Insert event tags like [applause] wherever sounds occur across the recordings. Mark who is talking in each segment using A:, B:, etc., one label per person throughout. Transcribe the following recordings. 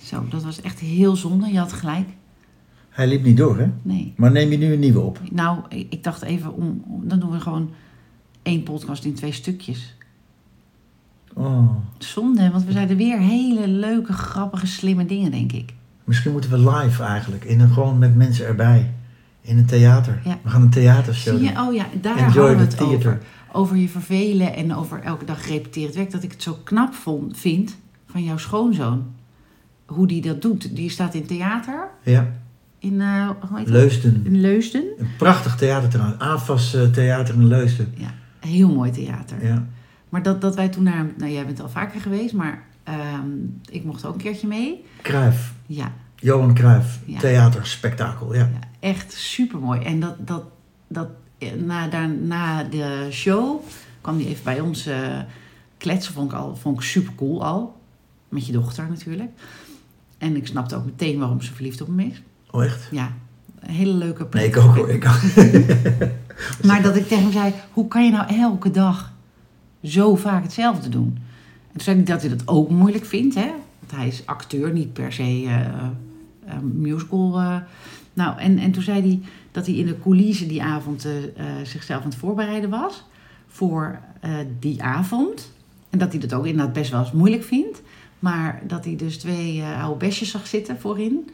A: Zo, dat was echt heel zonde. Je had gelijk.
B: Hij liep niet door, hè?
A: Nee.
B: Maar neem je nu een nieuwe op?
A: Nou, ik ik dacht even om, om- Dan doen we gewoon één podcast in twee stukjes.
B: Oh,
A: Zonde, want we zeiden weer hele leuke, grappige, slimme dingen, denk ik.
B: misschien moeten we live eigenlijk. In een, gewoon met mensen erbij. In een theater.
A: Ja.
B: We gaan een theatershow
A: Zie
B: doen.
A: je? Oh ja, daar
B: Enjoy
A: hadden we
B: the
A: het
B: theater.
A: over. Over je vervelen en over elke dag gerepeteerd werk. Dat ik het zo knap vond, vind van jouw schoonzoon. Hoe die dat doet. Die staat in theater
B: Ja,
A: in, eh, hoe heet dat?
B: Leusden.
A: in Leusden.
B: Een prachtig theater trouwens. AFAS eh, Theater in Leusden.
A: Ja, een heel mooi theater.
B: Ja.
A: Maar dat, dat wij toen naar... Nou, jij bent al vaker geweest, maar ehm, ik mocht ook een keertje mee.
B: Cruijff.
A: Ja,
B: Johan Cruijff.
A: Ja.
B: Theaterspektakel, ja.
A: ja echt supermooi. En dat, dat, dat, eh, na, daar, na de show kwam die even bij ons eh, kletsen. Vond ik, al, vond ik supercool al. Met je dochter natuurlijk. En ik snapte ook meteen waarom ze verliefd op me is.
B: Oh, echt?
A: Ja, een hele leuke...
B: Nee, ik ook hoor. Ik [laughs] ook.
A: [laughs] Maar dat ik tegen hem zei, hoe kan je nou elke dag zo vaak hetzelfde doen? En toen zei ik dat hij dat ook moeilijk vindt, hè? Want hij is acteur, niet per se eh, eh, musical. eh. Nou, en, en toen zei hij dat hij in de coulissen die avond eh, eh, zichzelf aan het voorbereiden was voor eh, die avond. En dat hij dat ook inderdaad best wel eens moeilijk vindt. Maar dat hij dus twee eh, oude besjes zag zitten voorin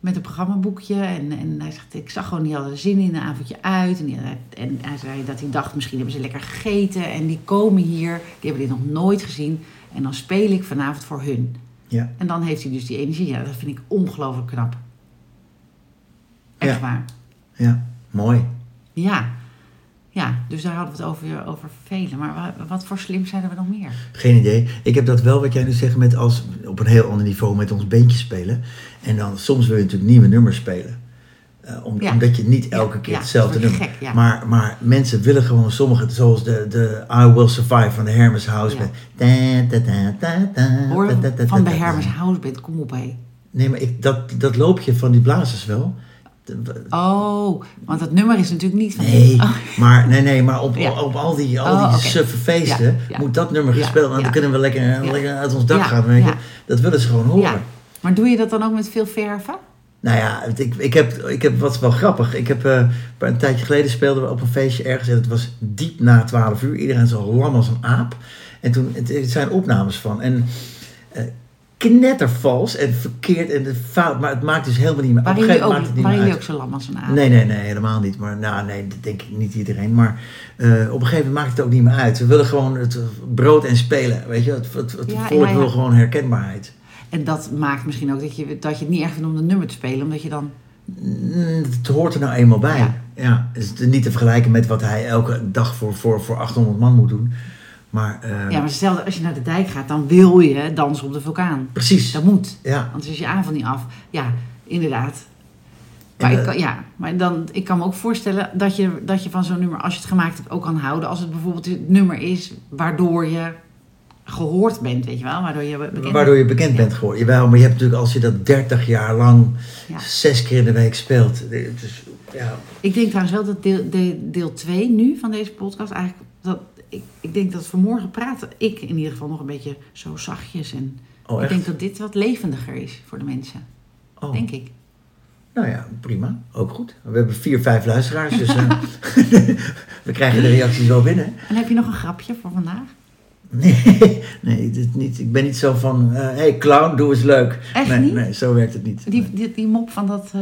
A: met een programmaboekje. En, en hij zegt, ik zag gewoon, die hadden er zin in een avondje uit. En, die- en hij zei dat hij dacht, misschien hebben ze lekker gegeten. En die komen hier, die hebben dit nog nooit gezien. En dan speel ik vanavond voor hun.
B: Ja.
A: En dan heeft hij dus die energie. Ja, dat vind ik ongelooflijk knap. Echt
B: Ja.
A: waar.
B: Ja, mooi.
A: Ja. Ja, dus daar hadden we het over, over velen. Maar wa- wat voor slim zijn er nog meer?
B: Geen idee. Ik heb dat wel wat jij nu zegt met als op een heel ander niveau met ons beentje spelen. En dan soms wil je natuurlijk nieuwe nummers spelen. Eh, om-
A: Ja.
B: Omdat je niet elke
A: Ja,
B: keer
A: ja,
B: hetzelfde
A: dat wordt
B: nummer.
A: gek, ja.
B: maar, maar mensen willen gewoon sommige, zoals de, de I Will Survive van de Hermes House.
A: Ja.
B: Met, da, da, da, da, da,
A: Hoor
B: da, da, da,
A: van de
B: da, da.
A: Hermes Houseband, kom op hé.
B: Nee, maar ik, dat, dat loopje van die blazers wel.
A: Oh, want dat nummer is natuurlijk niet van...
B: Nee,
A: Oh,
B: maar, nee, nee, maar op,
A: Ja.
B: op al die, al
A: Oh,
B: die
A: oké.
B: suffe feesten
A: Ja, ja.
B: moet dat nummer
A: Ja,
B: gespeeld en dan
A: ja.
B: kunnen we lekker,
A: Ja.
B: lekker uit ons dak
A: Ja,
B: gaan. Weet je.
A: ja.
B: Dat willen ze gewoon horen.
A: ja. Maar doe je dat dan ook met veel verven?
B: Nou ja, het- ik, ik, heb, ik heb wat wel grappig. Ik heb eh, een tijdje geleden speelden we op een feestje ergens en het was diep na 12 uur. Iedereen zo lam als een aap. En toen het, het zijn opnames van. En eh knettervals en verkeerd en de fout, maar het maakt dus helemaal niet meer.
A: Waren jullie
B: gegeven
A: ook,
B: moment maakt het niet
A: waren
B: meer
A: jullie ook zo
B: uit.
A: lam als een aap?
B: Nee, nee, nee, helemaal niet. Maar nou, nee, dat denk ik niet iedereen. Maar eh, op een gegeven moment maakt het ook niet meer uit. We willen gewoon het brood en spelen. Weet je, het, het, het
A: Ja,
B: volk
A: ja, ja.
B: wil gewoon herkenbaarheid.
A: En dat maakt misschien ook dat je, dat je het niet erg vindt om een nummer te spelen. Omdat je dan...
B: Mm, Het hoort er nou eenmaal bij. Ja.
A: Ja.
B: het is niet te vergelijken met wat hij elke dag voor, voor, voor 800 man moet doen. Maar, eh,
A: Ja, maar stel dat als je naar de dijk gaat, dan wil je dansen op de vulkaan.
B: precies.
A: Dat moet.
B: Ja,
A: Anders is je avond niet af. Ja, inderdaad. Maar,
B: En,
A: ik,
B: eh,
A: kan, ja, maar dan, ik kan me ook voorstellen dat je, dat je van zo'n nummer, als je het gemaakt hebt, ook kan houden. Als het bijvoorbeeld het nummer is waardoor je gehoord bent, weet je wel. Waardoor je bekend
B: waardoor je bekend bent geworden. Jawel, maar je hebt natuurlijk als je dat 30 jaar lang
A: Ja.
B: zes keer in de week speelt. eh, Het is, ja,
A: Ik denk trouwens wel dat deel, de, deel 2 nu van deze podcast eigenlijk. Dat, ik, ik denk dat vanmorgen praten ik in ieder geval nog een beetje zo zachtjes. En
B: oh,
A: ik
B: echt?
A: denk dat dit wat levendiger is voor de mensen.
B: Oh,
A: Denk ik.
B: Nou ja, prima. Ook goed. We hebben vier, vijf luisteraars,
A: [laughs]
B: dus eh, [laughs] we krijgen de reacties wel binnen. [laughs]
A: En heb je nog een grapje voor vandaag?
B: Nee, nee dit niet, ik ben niet zo van, hé hey, clown, doe eens leuk.
A: Echt
B: nee,
A: niet?
B: nee, zo werkt het niet.
A: Die, die, die mop van dat, eh,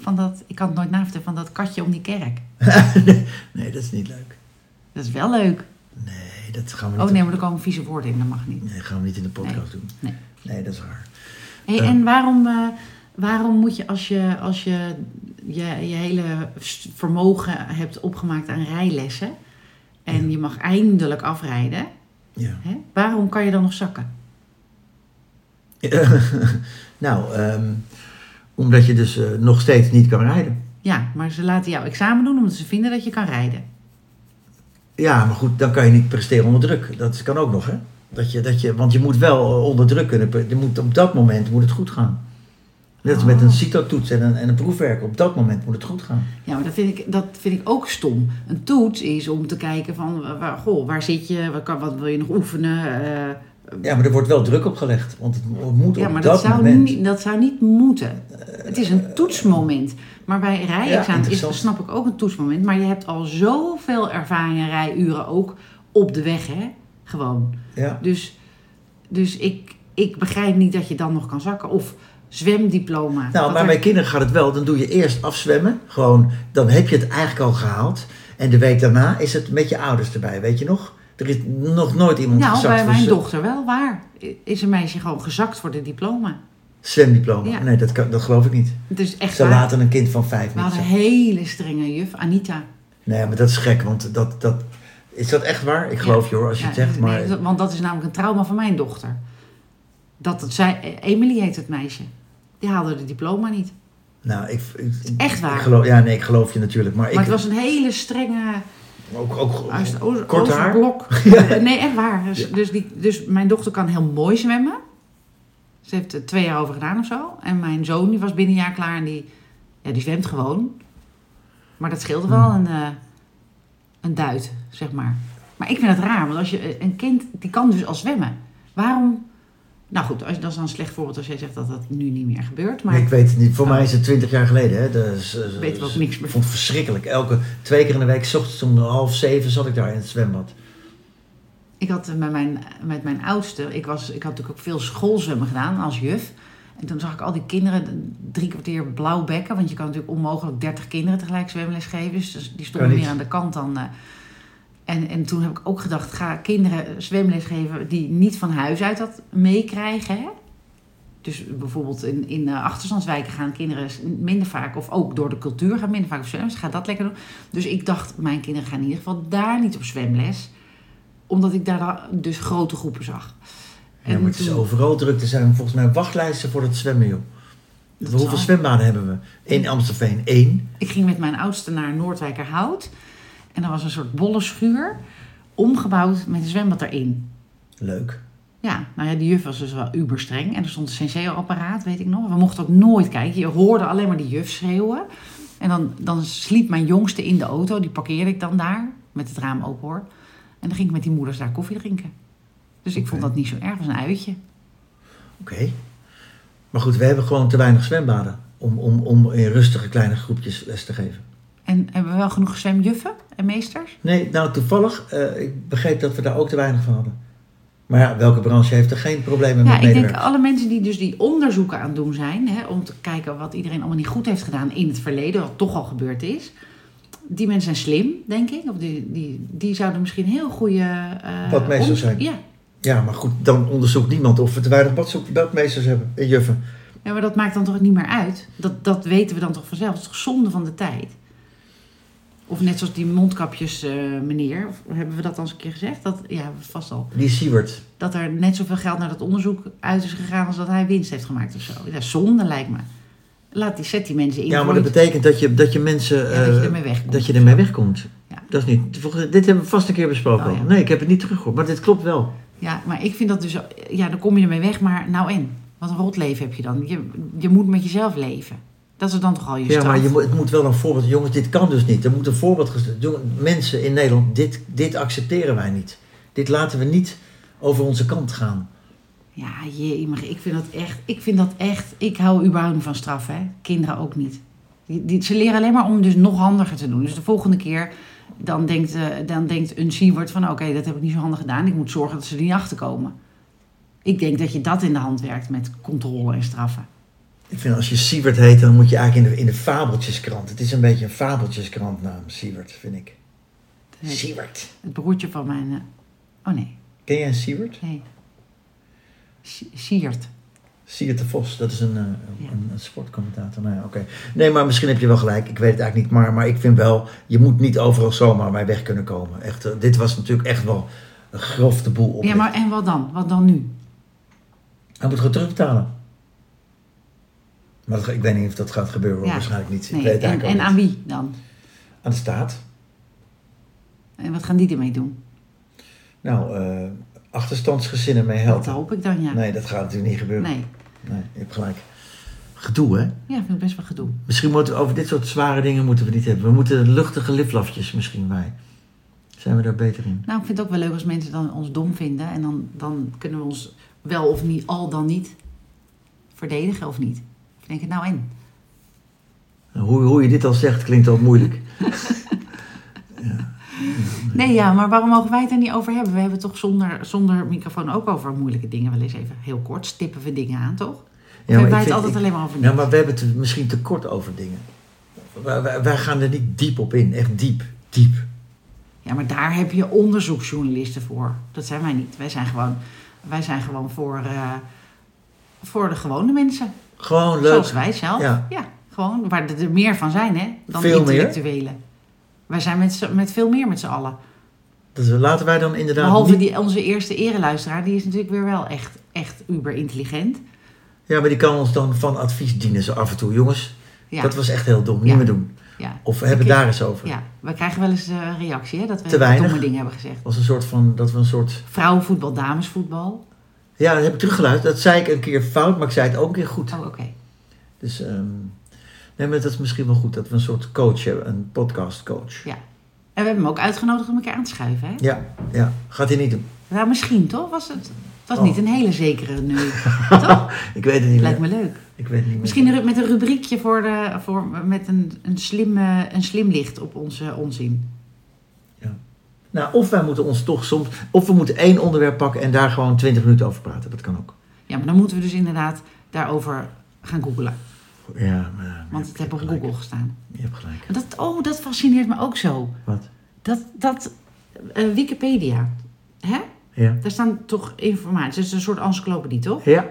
A: van dat. Ik kan het nooit navertellen van dat katje om die kerk.
B: [laughs] nee, dat is niet leuk.
A: Dat is wel leuk.
B: Nee, dat gaan we niet,
A: Oh nee, maar er komen vieze woorden in. Dat mag niet.
B: nee, dat gaan we niet in de podcast doen.
A: Nee.
B: Nee, dat is raar.
A: Hey,
B: Eh.
A: en waarom, eh, waarom moet je als je, als je, je je hele s- vermogen hebt opgemaakt aan rijlessen en je mag eindelijk afrijden,
B: Ja. [laughs]
A: hè, waarom kan je dan nog zakken?
B: nou, ehm, omdat je dus eh, nog steeds niet kan rijden.
A: Ja, maar ze laten jou examen doen omdat ze vinden dat je kan rijden.
B: Ja, maar goed, dan kan je niet presteren onder druk. Dat is- kan ook nog, hè? Dat je, dat je, want je moet wel eh, onder druk kunnen. pre- Je moet, op dat moment moet het goed gaan. Net als met een
A: Oh.
B: CITO-toets en een, en een proefwerk. Op dat moment moet het goed gaan.
A: Ja, maar dat vind ik, dat vind ik ook stom. Een toets is om te kijken van, eh, waar, goh, waar zit je, wat, kan, wat wil je nog oefenen, eh,
B: Ja, maar er wordt wel druk op gelegd. Want het moet
A: Ja,
B: op
A: maar
B: dat,
A: dat, zou
B: moment. Eh,
A: niet, dat zou niet moeten. Het is een toetsmoment. Maar bij rijexamen is,
B: interessant.
A: snap ik ook een toetsmoment. Maar je hebt al zoveel ervaring en rijuren ook op de weg, hè? Gewoon.
B: Ja.
A: Dus, dus ik, ik begrijp niet dat je dan nog kan zakken. Of zwemdiploma.
B: Nou,
A: Dat
B: maar
A: er-
B: bij kinderen gaat het wel. Dan doe je eerst afzwemmen. Gewoon, dan heb je het eigenlijk al gehaald. En de week daarna is het met je ouders erbij, weet je nog? Er is nog nooit iemand
A: Nou,
B: gezakt
A: bij
B: voor
A: mijn
B: zijn
A: dochter wel waar. Is een meisje gewoon gezakt voor de diploma.
B: zwemdiploma.
A: Ja.
B: Nee, dat, kan, dat geloof ik niet.
A: Het is echt
B: Ze
A: waar.
B: laten een kind van
A: We
B: vijf niet
A: hadden een
B: zakken.
A: hele strenge juf, Anita.
B: Nee, maar dat is gek, want dat, dat, is dat echt waar? Ik geloof je hoor, als je het
A: Ja,
B: zegt.
A: nee,
B: Maar
A: dat- want dat is namelijk een trauma van mijn dochter. Dat het zij, eh, Emily heet het meisje. Die haalde de diploma niet.
B: nou, ik, ik,
A: Echt waar.
B: ik geloof, ja, nee, ik geloof je natuurlijk. Maar,
A: maar
B: ik,
A: het was een hele strenge
B: ook, ook,
A: uit- o-
B: kort haar. [laughs]
A: overblok. Nee, echt waar. Dus, dus, die, dus mijn dochter kan heel mooi zwemmen. Ze heeft er twee jaar over gedaan of zo. En mijn zoon die was binnen een jaar klaar en die, ja, die zwemt gewoon. Maar dat scheelde
B: Mm.
A: wel een, eh, een duit, zeg maar. Maar ik vind het raar, want als je eh, een kind, die kan dus al zwemmen. Waarom? Nou goed, als, dat is dan een slecht voorbeeld als jij zegt dat dat nu niet meer gebeurt. Maar Nou.
B: ik weet het niet. Voor mij is het twintig jaar geleden. Hè. Dus, eh,
A: Weten we ook niks meer.
B: Ik vond het verschrikkelijk. Elke twee keer in de week, 's ochtends om half zeven, zat ik daar in het zwembad.
A: Ik had eh, met mijn, met mijn oudste, ik, was, ik had natuurlijk ook veel schoolzwemmen gedaan als juf. En toen zag ik al die kinderen drie kwartier blauw bekken. Want je kan natuurlijk onmogelijk dertig kinderen tegelijk zwemles geven. Dus die stonden
B: Kan niet.
A: meer aan de kant dan. eh. en, en toen heb ik ook gedacht, ga kinderen zwemles geven die niet van huis uit dat meekrijgen. hè? Dus bijvoorbeeld in, in eh, achterstandswijken gaan kinderen s- minder vaak, of ook door de cultuur gaan minder vaak op zwemles. Ga dat lekker doen. Dus ik dacht, mijn kinderen gaan in ieder geval daar niet op zwemles. Omdat ik daar dan dus grote groepen zag.
B: Ja, maar het is
A: toen-
B: overal druk. Er zijn volgens mij wachtlijsten voor het zwemmen, joh.
A: Dat
B: Hoeveel
A: zal.
B: zwembaden hebben we? In Amstelveen één.
A: Ik ging met mijn oudste naar Noordwijkerhout. En er was een soort bolle schuur, omgebouwd met een zwembad erin.
B: Leuk.
A: Ja, nou ja, die juf was dus wel uberstreng. En er stond een senseo-apparaat, weet ik nog. We mochten ook nooit kijken. Je hoorde alleen maar die juf schreeuwen. En dan, dan sliep mijn jongste in de auto. Die parkeerde ik dan daar, met het raam open hoor. En dan ging ik met die moeders daar koffie drinken. Dus ik vond
B: Oké.
A: dat niet zo erg, was een uitje.
B: Oké. Maar goed, we hebben gewoon te weinig zwembaden om, om, om in rustige kleine groepjes les te geven.
A: En hebben we wel genoeg zwemjuffen en meesters?
B: Nee, nou toevallig, eh, ik begreep dat we daar ook te weinig van hadden. Maar ja, welke branche heeft er geen
A: Ja,
B: problemen met
A: ik denk
B: medewerkers?
A: alle mensen die dus die onderzoeken aan het doen zijn, hè, om te kijken wat iedereen allemaal niet goed heeft gedaan in het verleden, wat toch al gebeurd is. Die mensen zijn slim, denk ik. Of die, die, die zouden misschien heel goede. eh,
B: Wat meesters
A: om-
B: zijn.
A: Ja.
B: Ja, maar goed, dan onderzoekt niemand of we te weinig badzoek- badmeesters hebben en juffen.
A: ja, maar dat maakt dan toch niet meer uit? Dat, dat weten we dan toch vanzelf? Het is toch zonde van de tijd? Of net zoals die mondkapjes eh, meneer, of hebben we dat al eens een keer gezegd? Dat, ja, vast al.
B: Die Siewert.
A: Dat er net zoveel geld naar dat onderzoek uit is gegaan als dat hij winst heeft gemaakt of zo. Ja, zonde lijkt me. Laat die, zet die mensen in.
B: Ja,
A: voor
B: maar dat
A: iets.
B: betekent dat je, dat je mensen...
A: Ja, dat je
B: eh,
A: ermee wegkomt.
B: dat je ermee wegkomt.
A: Ja.
B: Dat is niet. volgens- dit hebben we vast een keer besproken.
A: Oh, ja.
B: al. Nee, ik heb het niet teruggehoord, maar dit klopt wel.
A: Ja, maar ik vind dat dus... Ja, dan kom je ermee weg, maar nou en? Wat een rot leven heb je dan. Je, je moet met jezelf leven. Dat is dan toch al je
B: Ja,
A: straf.
B: maar je, moet- het moet wel een voorbeeld. Jongens, dit kan dus niet. Er moet een voorbeeld gesteld jongen, Mensen in Nederland, dit, dit accepteren wij niet. Dit laten we niet over onze kant gaan.
A: Ja, jee, maar ik vind dat echt... Ik vind dat echt... Ik hou überhaupt niet van straf, hè. Kinderen ook niet. Die, die- ze leren alleen maar om dus nog handiger te doen. Dus de volgende keer... Dan denkt, eh, dan denkt een Siewert van... Oké, dat heb ik niet zo handig gedaan. Ik moet zorgen dat ze er niet achter komen. Ik denk dat je dat in de hand werkt met controle en straffen.
B: Ik vind als je Siebert heet, dan moet je eigenlijk in de, in de fabeltjeskrant. Het is een beetje een fabeltjeskrantnaam, Siebert, vind ik.
A: Nee.
B: Siebert.
A: Het broertje van mijn... eh, oh nee,
B: Ken jij Siebert?
A: nee. Si- Siert.
B: Siebert de Vos, dat is een, eh, een,
A: Ja.
B: een sportcommentator. Nou ja, oké. Nee, maar misschien heb je wel gelijk. Ik weet het eigenlijk niet. Maar, maar ik vind wel, je moet niet overal zomaar bij weg kunnen komen. Echt, eh, dit was natuurlijk echt wel een grof de boel op.
A: Ja, maar en wat dan? Wat dan nu?
B: Hij moet gewoon terugbetalen. Maar dat- ik weet niet of dat gaat gebeuren. hoor.
A: Ja.
B: Waarschijnlijk niet. Ik
A: Nee,
B: weet het
A: en,
B: eigenlijk
A: en
B: ook
A: aan
B: niet.
A: wie dan?
B: Aan de staat.
A: En wat gaan die ermee doen?
B: Nou, eh, achterstandsgezinnen mee helpen.
A: Dat hoop ik dan, ja.
B: Nee, dat gaat natuurlijk niet gebeuren.
A: Nee.
B: Nee, je hebt gelijk. Gedoe, hè?
A: Ja, vind ik best wel gedoe.
B: Misschien moeten we over dit soort zware dingen moeten we niet hebben. We moeten luchtige liflafjes misschien bij. zijn we daar beter in.
A: Nou, ik vind het ook wel leuk als mensen dan ons dom vinden. En dan, dan kunnen we ons wel of niet, al dan niet, verdedigen of niet. Ik denk het nou en.
B: Hoe, hoe je dit al zegt, klinkt al moeilijk.
A: Nee, ja, maar waarom mogen wij het er niet over hebben? We hebben toch zonder, zonder microfoon ook over moeilijke dingen wel eens even heel kort. Stippen we dingen aan, toch? Ja,
B: maar
A: hebben
B: ik
A: wij het
B: vind-
A: altijd
B: ik-
A: alleen maar over
B: Ja,
A: niks?
B: maar we hebben het misschien te kort over dingen. Wij, wij- wij gaan er niet diep op in. Echt diep. Diep.
A: Ja, maar daar heb je onderzoeksjournalisten voor. Dat zijn wij niet. Wij zijn gewoon, wij zijn gewoon voor, eh, voor de gewone mensen.
B: Gewoon leuk.
A: Zoals wij zelf.
B: Ja.
A: Ja. gewoon waar er er meer van zijn, hè? Dan
B: Veel meer.
A: intellectuelen. Wij zijn met, z'n- met veel meer met z'n allen.
B: Dus laten wij dan inderdaad
A: Behalve
B: niet-
A: die, onze eerste ereluisteraar, die is natuurlijk weer wel echt, echt uber intelligent.
B: Ja, maar die kan ons dan van advies dienen zo af en toe. Jongens,
A: Ja,
B: dat was echt heel dom. Niet
A: Ja.
B: meer doen.
A: ja,
B: Of we hebben
A: Ik-
B: daar eens over.
A: ja. We krijgen wel eens de reactie, hè? Dat we
B: Te weinig.
A: domme dingen hebben gezegd.
B: Was een soort van, dat we een soort...
A: Vrouwenvoetbal, damesvoetbal.
B: Ja, dat heb ik teruggeluisterd. Dat zei ik een keer fout, maar ik zei het ook een keer goed.
A: Oh, oké.
B: Dus ehm nee, maar dat is misschien wel goed. Dat we een soort coach hebben. Een podcastcoach.
A: Ja. En we hebben hem ook uitgenodigd om een keer aan te schuiven, hè?
B: Ja, ja. Gaat hij niet doen.
A: Nou, misschien toch? Was het het was
B: Oh.
A: niet een hele zekere
B: [laughs]
A: nu. toch?
B: Ik weet het niet
A: Lijkt
B: meer.
A: me leuk.
B: Ik weet het niet meer.
A: Misschien een ru- met een rubriekje voor de, voor, met een, een, slim, eh, een slim licht op onze onzin.
B: Nou, of wij moeten ons toch soms... Of we moeten één onderwerp pakken en daar gewoon twintig minuten over praten. Dat kan ook.
A: Ja, maar dan moeten we dus inderdaad daarover gaan googlen.
B: Ja, maar... ja,
A: Want
B: je
A: het
B: hebt
A: heeft op
B: gelijk.
A: Google gestaan.
B: Je hebt gelijk.
A: Maar Dat, oh, dat fascineert me ook zo.
B: Wat?
A: Dat, dat eh, Wikipedia, hè?
B: Ja.
A: daar staan toch informatie. Het is een soort encyclopedie, toch?
B: Ja,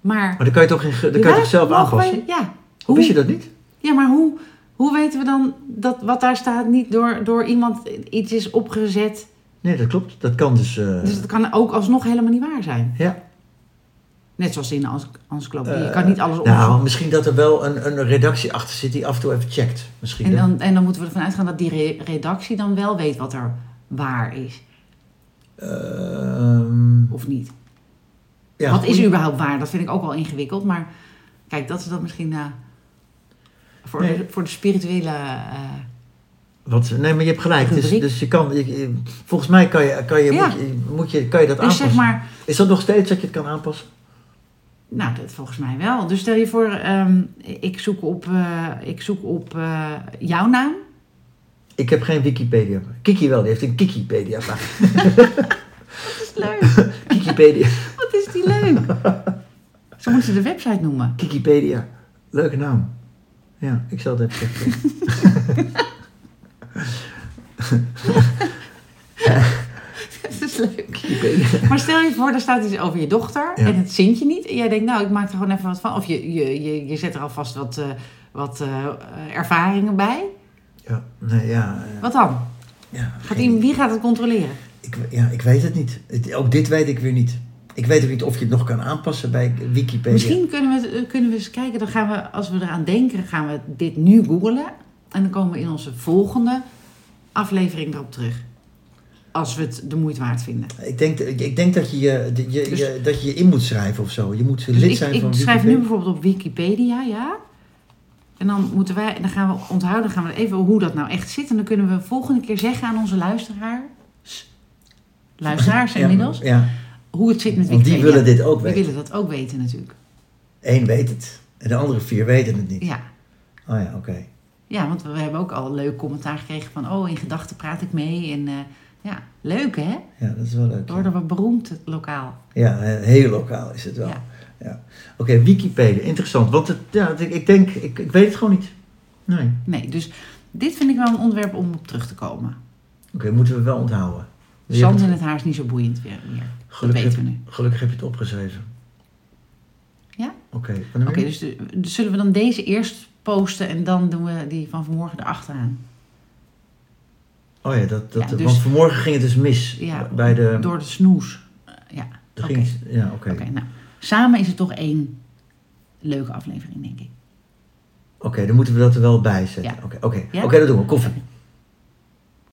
A: Maar
B: maar dan kan je toch, geen, ge- dan kan je toch
A: Ja,
B: zelf
A: mogen
B: aanpassen?
A: wij- ja.
B: Hoe wist je dat niet?
A: Ja, maar hoe, hoe weten we dan dat wat daar staat niet door, door iemand iets is opgezet?
B: Nee, dat klopt. Dat kan dus... eh,
A: Dus dat kan ook alsnog helemaal niet waar zijn.
B: ja.
A: Net zoals in de ens- encyclopedie. Je
B: Eh,
A: kan niet alles opzoeken.
B: Nou, misschien dat er wel een, een redactie achter zit die af en toe even checkt. Misschien.
A: En
B: hè?
A: dan, en dan moeten we ervan uitgaan dat die re- redactie dan wel weet wat er waar is.
B: Ehm,
A: Of niet.
B: ja,
A: wat is
B: goeie-
A: überhaupt waar? Dat vind ik ook wel ingewikkeld. Maar kijk, dat is dan misschien eh, voor,
B: Nee.
A: de, voor de spirituele... eh,
B: Wat, nee, maar je hebt gelijk. Dus,
A: Rubriek.
B: dus je kan... je- je- volgens mij kan je, kan je,
A: Ja.
B: moet je, moet je, kan je dat
A: dus
B: aanpassen.
A: zeg maar...
B: Is dat nog steeds dat je het kan aanpassen?
A: Nou, dat volgens mij wel. Dus stel je voor, ehm, ik zoek op, eh, ik zoek op eh, jouw naam.
B: Ik heb geen Wikipedia. Kiki wel, die heeft een Kikipedia. Maar
A: Dat is leuk.
B: Kikipedia.
A: [laughs]
B: [laughs]
A: Wat is die leuk. Zo moeten ze de website noemen.
B: Kikipedia. Leuke naam. Ja, ik zal het
A: [laughs]
B: even checken.
A: Dat is leuk.
B: Wikipedia.
A: Maar stel je voor, daar staat iets over je dochter
B: Ja.
A: en het zint je niet. En jij denkt, nou, ik maak er gewoon even wat van. Of je, je, je, je zet er alvast wat, eh, wat eh, ervaringen bij.
B: Ja, nee, ja. eh,
A: Wat dan?
B: ja,
A: Gaat
B: geen-
A: iemand- wie gaat het controleren?
B: ik, ja, ik weet het niet. Het- ook dit weet ik weer niet. Ik weet ook niet of je het nog kan aanpassen bij Wikipedia.
A: Misschien kunnen we, eh, kunnen we eens kijken. Dan gaan we, als we eraan denken, gaan we dit nu googlen. En dan komen we in onze volgende aflevering erop terug. Als we het de moeite waard vinden.
B: Ik denk, ik, ik denk dat, je je, je, je-
A: Dus-
B: dat je je in moet schrijven of zo. Je moet
A: Dus
B: lid
A: ik,
B: zijn
A: ik
B: van
A: schrijf nu
B: Wikipedia.
A: bijvoorbeeld op Wikipedia, ja. En dan moeten wij, dan gaan we onthouden, dan gaan we even hoe dat nou echt zit. En dan kunnen we volgende keer zeggen aan onze luisteraars, luisteraars inmiddels,
B: Ja, ja,
A: hoe het zit met
B: want
A: Wikipedia.
B: die willen dit ook
A: Die
B: weten.
A: willen dat ook weten natuurlijk.
B: Eén weet het. En de andere vier weten het niet.
A: Ja.
B: Oh ja, oké.
A: Ja, want we hebben ook al leuk commentaar gekregen van... oh, in gedachten praat ik mee. En eh, ja, leuk hè?
B: Ja, dat is wel leuk.
A: We
B: ja.
A: worden we beroemd het lokaal.
B: Ja, heel lokaal is het wel. Ja.
A: Ja.
B: Oké, Wikipedia, interessant. Want het, ja, het- ik denk, ik, ik weet het gewoon niet. Nee. Oké,
A: Nee, dus dit vind ik wel een onderwerp om op terug te komen.
B: moeten we wel onthouden. Je
A: Zand
B: hebt
A: in het haar is niet zo boeiend weer meer.
B: gelukkig,
A: weten we
B: heb- gelukkig heb je het opgeschreven.
A: Ja?
B: Oké,
A: Oké,
B: Hm?
A: dus, de- dus zullen we dan deze eerst posten... en dan doen we die van vanmorgen erachteraan.
B: Oh ja, dat, dat,
A: Ja, dus-
B: want vanmorgen ging het dus mis.
A: Ja,
B: bij de,
A: door de snoes. Eh, ja,
B: er
A: oké.
B: ging het- ja, oké.
A: Oké, nou. Samen is het toch één leuke aflevering, denk ik.
B: Oké, dan moeten we dat er wel bij zetten.
A: Ja.
B: Oké, oké.
A: Ja?
B: Oké, dat doen we. Koffie.
A: Oké.